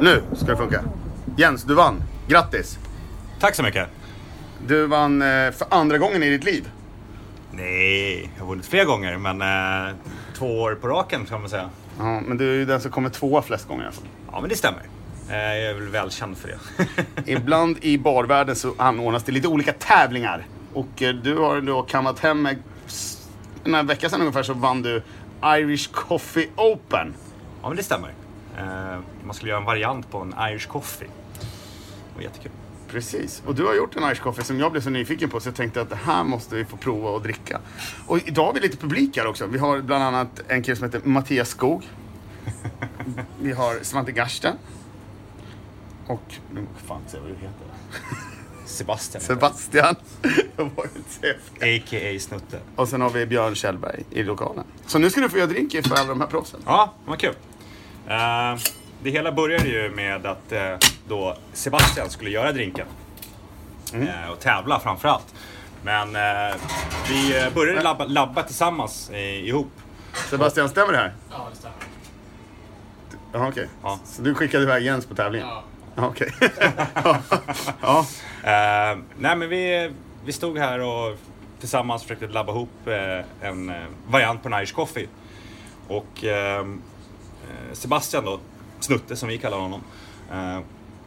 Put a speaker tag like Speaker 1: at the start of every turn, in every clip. Speaker 1: Nu ska det funka. Jens, du vann. Grattis!
Speaker 2: Tack så mycket.
Speaker 1: Du vann eh, för andra gången i ditt liv.
Speaker 2: Nej, jag har vunnit fler gånger, men eh, två år på raken kan man säga.
Speaker 1: Ja, men du är ju den som kommer tvåa flest gånger alltså. i alla fall.
Speaker 2: Ja, men det stämmer. Eh, jag är väl välkänd för det.
Speaker 1: Ibland i barvärlden så anordnas det lite olika tävlingar. Och eh, du har då kammat hem, med, en vecka sedan ungefär så vann du Irish Coffee Open.
Speaker 2: ja, men det stämmer. Eh, man skulle göra en variant på en Irish coffee. Det var jättekul.
Speaker 1: Precis, och du har gjort en Irish Coffee som jag blev så nyfiken på så jag tänkte att det här måste vi få prova och dricka. Och idag har vi lite publik här också. Vi har bland annat en kille som heter Mattias Skog. Vi har Svante Garsten. Och, nu fan ser jag vad du heter.
Speaker 2: Sebastian.
Speaker 1: Sebastian. Jag vågar inte säga fel.
Speaker 2: A.k.a. Snutte.
Speaker 1: Och sen har vi Björn Kjellberg i lokalen. Så nu ska du få göra drink för alla de här proffsen.
Speaker 2: Ja, vad kul. Eh, det hela började ju med att eh, då Sebastian skulle göra drinken. Eh, och tävla framför allt. Men eh, vi eh, började labba, labba tillsammans eh, ihop.
Speaker 1: Sebastian, stämmer det här?
Speaker 3: Ja, det stämmer.
Speaker 1: Jaha, okej.
Speaker 2: Ja.
Speaker 1: Så du skickade iväg Jens på tävlingen?
Speaker 3: Ja.
Speaker 1: Ja. Okej. ja. ja.
Speaker 2: Eh, nej men vi, vi stod här och tillsammans försökte labba ihop eh, en eh, variant på en Irish coffee. Och ehm, eh, Sebastian då, Snutte som vi kallar honom, eh,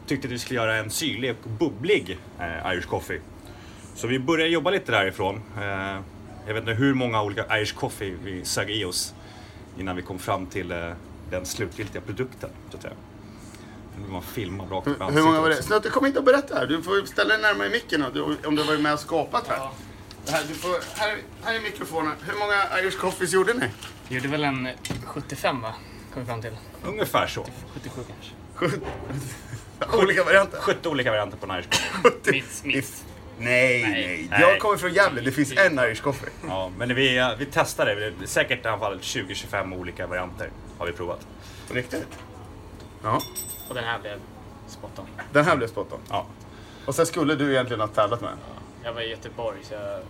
Speaker 2: tyckte att vi skulle göra en syrlig och bubblig eh, Irish coffee. Så vi började jobba lite därifrån. Eh, jag vet inte hur många olika Irish coffee vi sög i oss innan vi kom fram till eh, den slutgiltiga produkten. Så att säga. Nu blir man filmad rakt upp i
Speaker 1: Hur- Hur
Speaker 2: ansiktet
Speaker 1: många var
Speaker 2: också.
Speaker 1: det? Snutte, kom inte och berätta här. Du får ställa dig närmare micken och du- om du har varit med och skapat här.
Speaker 3: Ja.
Speaker 1: Det här, du får, här, här är mikrofonen. Hur många Irish Coffees gjorde ni?
Speaker 3: Vi gjorde väl en 75 va? Kom vi fram till.
Speaker 2: Ungefär så.
Speaker 3: 77 kanske.
Speaker 1: Olika varianter.
Speaker 2: 70 olika varianter på en Irish coffee.
Speaker 3: Minst, minst.
Speaker 1: Nej, nej.
Speaker 3: Nej.
Speaker 1: Jag kommer från Gävle. Det finns en Irish Coffee.
Speaker 2: Ja, men vi, eh, vi testade, det är säkert i alla fall 20-25 olika varianter har vi provat.
Speaker 1: Riktigt? Ja.
Speaker 3: Och den här blev spot on.
Speaker 1: Den här blev spot on.
Speaker 2: Ja.
Speaker 1: Och sen skulle du egentligen ha tävlat med den.
Speaker 3: Jag var i Göteborg så jag höll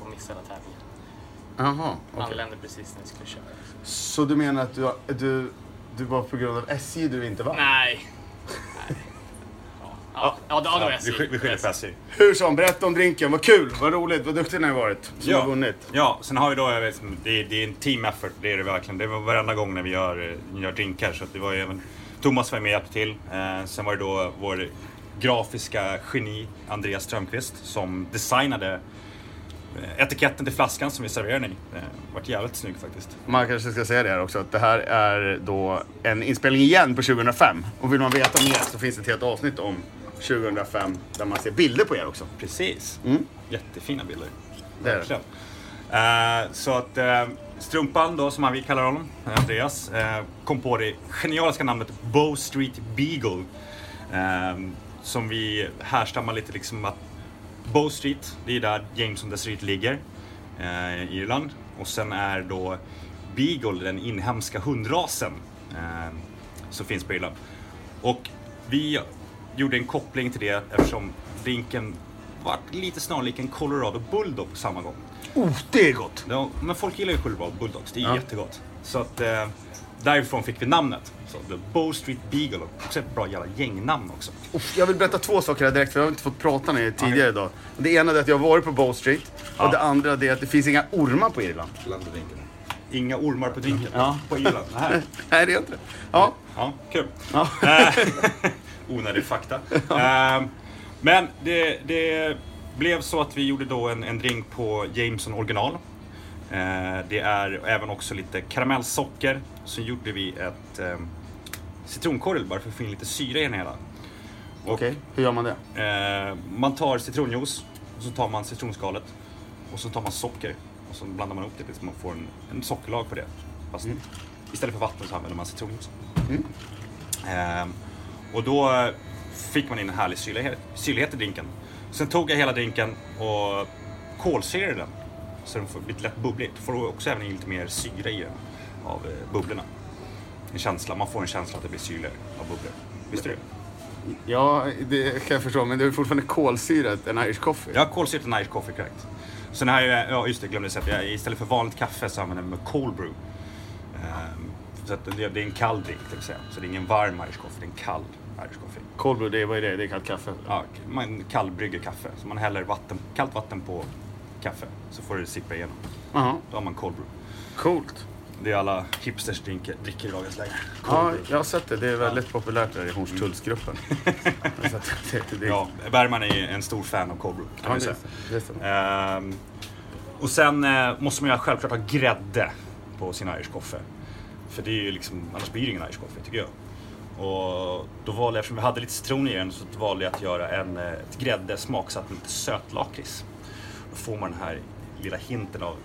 Speaker 3: på att missa hela tävlingen.
Speaker 1: Jaha, okej.
Speaker 3: Anlände precis när jag skulle köra.
Speaker 1: Så du menar att du, du, du var på grund av SJ du inte vann?
Speaker 3: Nej. Nej. Ja, ja, ja, det var
Speaker 2: Ja,
Speaker 3: jag
Speaker 2: vi, skyll- vi skyller på
Speaker 3: sur.
Speaker 2: SJ.
Speaker 1: Hur som, berätta om drinken. Vad kul, vad roligt, vad duktig ni har varit. Som har vunnit.
Speaker 2: ja, sen har vi då, jag vet, inte, det, är, det är en team effort, det är det verkligen. Det var varenda gång när vi gör, eh, gör drinkar. Så att det var ju även, Thomas var med och hjälpte till. Eh, sen var det då vår grafiska geni Andreas Strömqvist som designade eh, etiketten till flaskan som vi serverade i. Eh, vart jävligt snygg faktiskt.
Speaker 1: Man kanske ska säga det här också, att det här är då en inspelning igen på 2005. Och vill man veta mer så finns det ett helt avsnitt om 2005 där man ser bilder på er också.
Speaker 2: Precis.
Speaker 1: Mm.
Speaker 2: Jättefina bilder.
Speaker 1: Det är det.
Speaker 2: Verkligen. Eh, så att eh, Strumpan då, som han vi kallar honom, Andreas, eh, kom på det genialiska namnet Bow Street Beagle. Eh, som vi härstammar lite liksom att Bow Street, det är där James on the Street ligger eh, i Irland. Och sen är då Beagle den inhemska hundrasen eh, som finns på Irland. Och vi gjorde en koppling till det eftersom drinken var lite snarlik en Colorado Bulldog på samma gång.
Speaker 1: Oh, det är gott!
Speaker 2: Ja, men folk gillar ju Colorado Bulldogs, det är jättegott. Så att eh, därifrån fick vi namnet. Så The Bow Street Beagle, också ett bra jävla gängnamn också.
Speaker 1: Jag vill berätta två saker här direkt, för jag har inte fått prata med er tidigare idag. Det ena är att jag har varit på Bow Street. Och det andra är att det finns inga ormar på Irland.
Speaker 2: Inga ormar på drinken
Speaker 1: Ja.
Speaker 2: på Irland. Här.
Speaker 1: Nej, det är inte det. Ja.
Speaker 2: Ja, kul.
Speaker 1: Ja.
Speaker 2: Eh, Onödig fakta. Eh, Men det, det blev så att vi gjorde då en, en drink på Jameson original. Eh, Det är även också lite karamellsocker. Så gjorde vi ett eh, citronkorl bara för att få in lite syra i den hela. Och,
Speaker 1: Okej, hur gör man det?
Speaker 2: eh, Man tar citronjuice, och så tar man citronskalet och så tar man socker och så blandar man ihop det tills man får en, en sockerlag på det. Fast istället för vatten så använder man citronjuice. Ehm, och då eh, fick man in en härlig syrlighet, syrlighet i drinken. Sen tog jag hela drinken och kolsyrade den. Så den får lite lätt bubbligt. Får du också även in lite mer syra i den av eh, bubblorna. En känsla, man får en känsla att det blir syrligare av bubblor. Visste du det?
Speaker 1: Ja, det kan jag förstå, men det är fortfarande kolsyrat, en Irish coffee.
Speaker 2: Jag har kolsyrat en Irish coffee korrekt. Sen har jag, ja just det, jag glömde säga att jag istället för vanligt kaffe så använder jag mig av cold brew. Ehm, Så att det det är en kall drink, det vill säga. Så det är ingen varm Irish coffee, det är en kall Irish coffee.
Speaker 1: Cold brew, det, är- vad är det? Det är kallt kaffe?
Speaker 2: Ja, man kallbrygger kaffe. Så man häller vatten, kallt vatten på kaffe, så får det sippa igenom.
Speaker 1: Jaha,
Speaker 2: Då har man cold brew.
Speaker 1: coolt.
Speaker 2: Det är alla hipsters drinker, dricker i dagens läge.
Speaker 1: Ja, jag har sett det. Det är väldigt populärt där i Hornstullsgruppen. Så att det- det-
Speaker 2: Ja, Bergman är en stor fan av cold brew, kan
Speaker 1: Ja,
Speaker 2: man
Speaker 1: det
Speaker 2: säga.
Speaker 1: är så. Det är så.
Speaker 2: Ehm, och sen eh, måste man ju självklart ha grädde på sin Irish coffee. För det är ju liksom, annars blir det ingen Irish coffee tycker jag. Och då valde jag, eftersom vi hade lite citron i den, så valde jag att göra en eh, ett grädde smaksatt med lite sötlakrits. Då får man den här lilla hinten av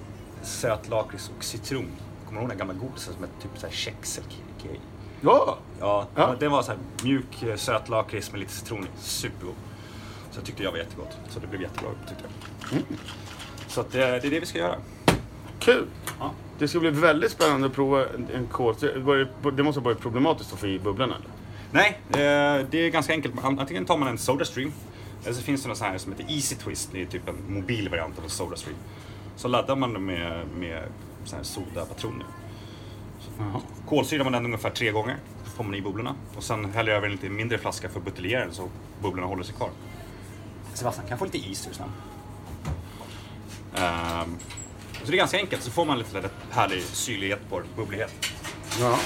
Speaker 2: sötlakrits och citron. Kommer du ihåg den här gamla godisen som hette typ så här kex eller cake?
Speaker 1: Ja!
Speaker 2: Ja,
Speaker 1: Ja.
Speaker 2: den var så här mjuk eh, sötlakrits med lite citron i. Supergod. Så jag tyckte jag var jättegott. Så det blev jättebra tyckte jag. Så att eh, det, det är det vi ska göra.
Speaker 1: Kul!
Speaker 2: Ja.
Speaker 1: Det ska bli väldigt spännande att prova en, en kol. Så var det- Det måste ha varit problematiskt att få i bubblan eller?
Speaker 2: Nej, eh, det är ganska enkelt. An- Antingen tar man en Sodastream. Eller så finns det något sån här som heter Easy Twist. Det är typ en mobil variant av en Sodastream. Så laddar man den med, med sån här sodapatroner. Kolsyrar man den ungefär tre gånger. Så får man i bubblorna. Och sen häller jag över en lite mindre flaska för att buteljera den så bubblorna håller sig kvar. Sebastian, kan jag få lite is ur snabbt? Ehm, så det är ganska enkelt. Så får man lite härlig syrlighet på det, bubblighet.
Speaker 1: Ja.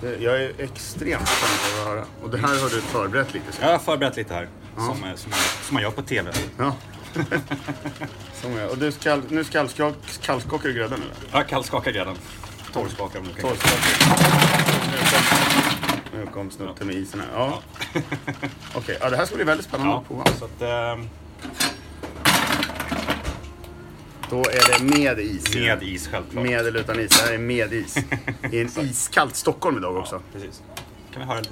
Speaker 1: Det- Jag är extremt spänd på att höra. Och det här har du förberett lite. Så.
Speaker 2: Jag har förberett lite här. Som, eh, som, man, som man gör på TV.
Speaker 1: Ja. Som jag. Och du skall, nu skallskak- kallskakar du grädden eller?
Speaker 2: Ja, kallskaka grädden. Torrskaka om du kan.
Speaker 1: Torrskakar. Nu kom snutten med isen här. Ja. Okej, ja, det här ska bli väldigt spännande
Speaker 2: Ja,
Speaker 1: att prova.
Speaker 2: så att, eh,
Speaker 1: Då är det med is.
Speaker 2: med is självklart.
Speaker 1: Med eller utan is. Det här är med is. I en iskallt Stockholm idag också.
Speaker 2: Ja, precis. Kan vi höra lite?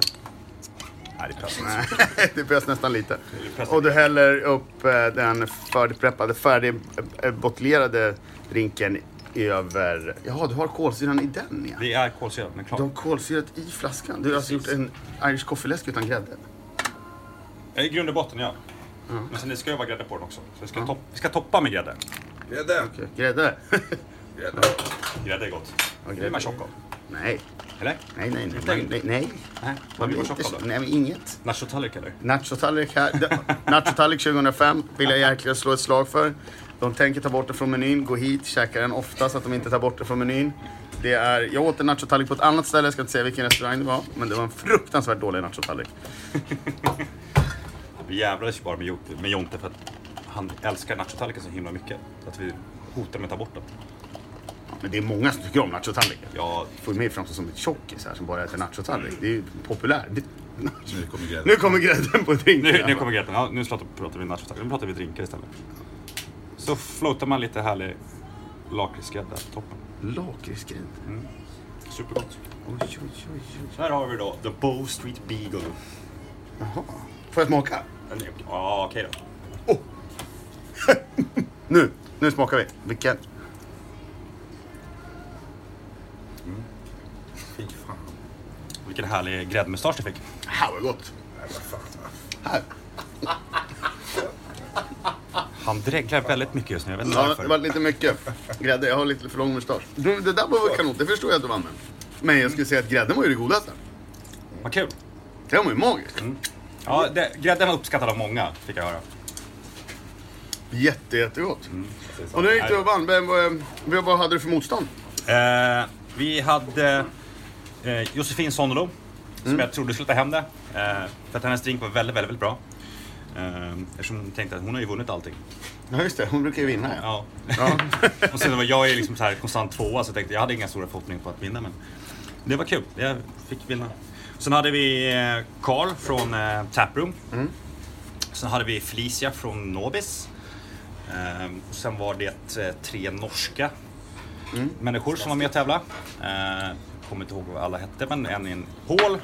Speaker 2: Nej, det passar inte.
Speaker 1: det behövs nästan lite.
Speaker 2: behövs
Speaker 1: Och du häller upp eh, den färdigpreppade, färdigbottlerade drinken över... Jaha, du har kolsyran i den ja.
Speaker 2: Det är kolsyrat, men klart.
Speaker 1: Du har kolsyrat i flaskan. Du har alltså gjort en Irish coffee-läsk utan grädde.
Speaker 2: Eh, I grund och botten, ja. Men sen det ska ju vara grädde på den också. Så vi ska, topp- vi ska toppa med grädde.
Speaker 4: Grädde!
Speaker 1: Okej, Grädde?
Speaker 4: Grädde!
Speaker 2: Grädde är gott. Det
Speaker 1: grädde.
Speaker 2: blir man tjock av.
Speaker 1: nej.
Speaker 2: Eller?
Speaker 1: Nej, nej, nej.
Speaker 2: Inte?
Speaker 1: nej, nej, nej.
Speaker 2: Nej,
Speaker 1: Man
Speaker 2: man
Speaker 1: blir
Speaker 2: blir man
Speaker 1: inte
Speaker 2: tjock
Speaker 1: så-
Speaker 2: av det.
Speaker 1: Nej, men inget.
Speaker 2: Nachotallrik eller?
Speaker 1: Nachotallrik här. De- Nachotallrik 2005 vill jag verkligen slå ett slag för. De tänker ta bort det från menyn. Gå hit, käka den ofta så att de inte tar bort det från menyn. Det är, jag åt en nachotallrik på ett annat ställe, jag ska inte säga vilken restaurang det var. Men det var en fruktansvärt dålig nachotallrik.
Speaker 2: Vi jävlades ju bara med, Jot- med Jonte för att han älskar nachotallriken så himla mycket. Så att vi hotade med att ta bort den.
Speaker 1: Men det är många som tycker om nachotallriken.
Speaker 2: Ja,
Speaker 1: Får ju mig fram som ett tjockis här som bara äter nachotallrik. Det är ju populärt. Det-
Speaker 4: Nu kommer grädde.
Speaker 1: Nu kommer grädden på drinken.
Speaker 2: Nu, nu kommer Gretan. Ja, nu pratar pratar vi nachotallrik. Nu pratar vi drinkar istället. Så floatar man lite härlig lakritsgrädde på toppen.
Speaker 1: Lakritsgrädde.
Speaker 2: Supergott.
Speaker 1: Oj, oj, oj, oj.
Speaker 2: Så här har vi då The Bow Street Beagle.
Speaker 1: Jaha. Får jag smaka?
Speaker 2: Den är- Ja, okej då.
Speaker 1: Nu! Nu smakar vi. Vilken?
Speaker 4: Fy fan.
Speaker 2: Vilken härlig gräddmustasch du fick.
Speaker 1: Här var gott.
Speaker 4: Nej, vad fan.
Speaker 1: Här.
Speaker 2: Han dreglar väldigt mycket just nu. Jag vet inte
Speaker 1: Ja, det
Speaker 2: varför.
Speaker 1: var lite mycket grädde. Jag har lite för lång mustasch. Du, Det där var väl kanon, det förstår jag att du vann med. Men jag skulle säga att grädden var ju det godaste.
Speaker 2: Vad kul.
Speaker 1: Det var ju magiskt.
Speaker 2: Ja, det, grädden var uppskattad av många, fick jag höra.
Speaker 1: Jätte, jättegott. Och nu gick du och vann. Vem, vem, vem, vad hade du för motstånd?
Speaker 2: Eh, vi hade eh, Josefin Sonnelo, som jag trodde skulle ta hem det. Eh, för att hennes drink var väldigt, väldigt, väldigt bra. Eh, eftersom hon tänkte att hon har ju vunnit allting.
Speaker 1: Ja, just det. Hon brukar ju vinna. Ja.
Speaker 2: Ja.
Speaker 1: Ja.
Speaker 2: och sen var jag ju liksom så här konstant tvåa, så jag tänkte jag hade inga stora förhoppningar på att vinna. Men det var kul, jag fick vinna. Sen hade vi eh, Carl från eh, Taproom. Sen hade vi Felicia från Nobis. Ehm, och sen var det eh, tre norska människor som var med och tävla. Ehm, kommer inte ihåg vad alla hette, men en är en Paul,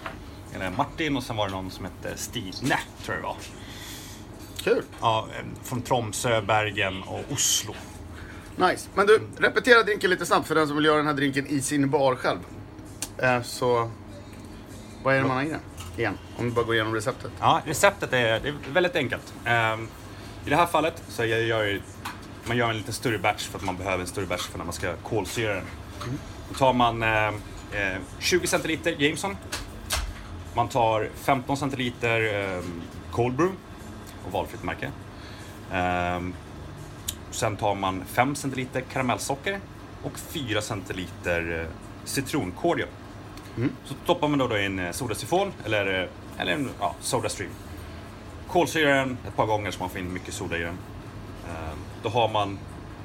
Speaker 2: en är Martin och sen var det någon som hette Stine, tror jag det var.
Speaker 1: Kul.
Speaker 2: Ja, eh, från Tromsö, Bergen och Oslo.
Speaker 1: Nice. Men du, repetera drinken lite snabbt för den som vill göra den här drinken i sin bar själv. Eh, Så, vad är det man har i den? Igen, om du bara går igenom receptet.
Speaker 2: Ja, receptet är, det är väldigt enkelt. Ehm, I det här fallet så jag gör ju- man gör en lite större batch för att man behöver en större batch för när man ska kolsyra den. Då tar man ehm, eh, 20 centiliter Jameson. Man tar 15 centiliter eh, cold brew och valfritt märke. Ehm, sen tar man 5 centiliter karamellsocker och 4 centiliter eh, citronkordium. Så toppar man då, då in eh, sodasyfol eller, eh, eller en ja, sodastream. Kolsyrar den ett par gånger så man får in mycket soda i den. Ehm, Då har man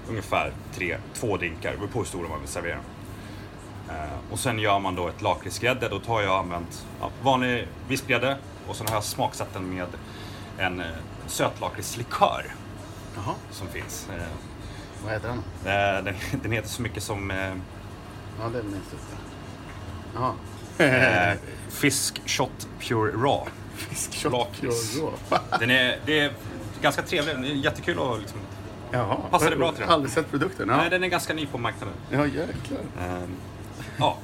Speaker 2: ungefär tre, två drinkar, det beror på hur stora man vill servera. Ehm, Och sen gör man då ett lakritsgrädde. Då tar jag använt ja, vanlig vispgrädde och sen har jag smaksatt den med en eh, sötlakritslikör
Speaker 1: Jaha,
Speaker 2: som finns. Ehm,
Speaker 1: vad heter den?
Speaker 2: eh, Den, den heter så mycket som eh,
Speaker 1: Ja, det minns jag inte. Jaha.
Speaker 2: eh, Fisk Shot Pure Raw.
Speaker 1: Fiskkött.
Speaker 2: Lakrits.
Speaker 1: Ja,
Speaker 2: Den är, det är ganska trevlig, den är jättekul att liksom...
Speaker 1: Jaha.
Speaker 2: Passar det bra till den?
Speaker 1: Aldrig sett produkten. Ja,
Speaker 2: Nej, den är ganska ny på marknaden.
Speaker 1: ja jäklar.
Speaker 2: Ehm, Ja,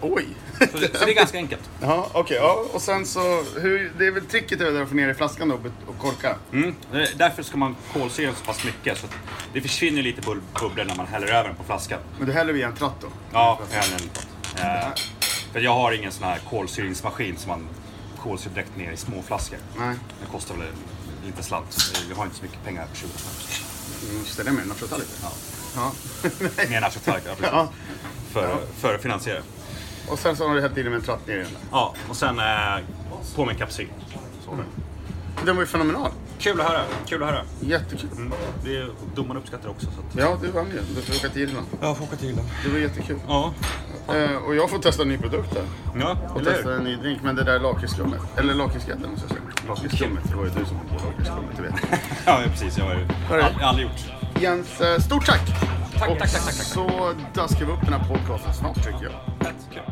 Speaker 1: Oj.
Speaker 2: så det, så det är ganska enkelt.
Speaker 1: Ja, okej. ja. Och sen så, hur, det är väl tricket är väl att få ner i flaskan då och bet- och korka?
Speaker 2: Mm. eh, Därför ska man kolsyra den så pass mycket så att det försvinner lite bul- bubblor när man häller över den på flaskan.
Speaker 1: Men du häller via en tratt då?
Speaker 2: Ja, eller eh, För jag har ingen sån här kolsyringsmaskin som man kolsyr direkt ner i små flaskor.
Speaker 1: Nej,
Speaker 2: Det kostar väl en liten slant. så Vi har inte så mycket pengar på 20 spänn.
Speaker 1: mm, ställer jag med den och prata lite.
Speaker 2: Ja.
Speaker 1: Ja.
Speaker 2: Mer än aftertark, ja, precis.
Speaker 1: ja.
Speaker 2: För, för att finansiera.
Speaker 1: Och sen så har du hällt i den med en tratt ner i den.
Speaker 2: Ja, och sen eh, på med kapsyl.
Speaker 1: Den var ju fenomenal.
Speaker 2: Kul att höra, kul att höra.
Speaker 1: Jättekul.
Speaker 2: Mm. Det är, domaren uppskattar också. Så att...
Speaker 1: Ja, du vann ju. Du får åka till Irland.
Speaker 2: Jag får åka till Irland.
Speaker 1: Det var jättekul.
Speaker 2: Ja,
Speaker 1: Eh, och jag får testa en ny produkt där.
Speaker 2: ja
Speaker 1: Och
Speaker 2: eller
Speaker 1: testa
Speaker 2: hur?
Speaker 1: en ny drink. Men det där lakritsskummet, eller lakritsgrädden måste jag säga. Lakritsskummet, det var ju du som kom på lakritsskummet, du vet.
Speaker 2: Ja, precis. Jag har ju
Speaker 1: det?
Speaker 2: aldrig, aldrig gjort.
Speaker 1: Jens, eh, stort tack!
Speaker 2: Tack,
Speaker 1: och
Speaker 2: tack, tack, tack, tack.
Speaker 1: så daskar vi upp den här podcasten snart tycker jag.
Speaker 2: Fett kul.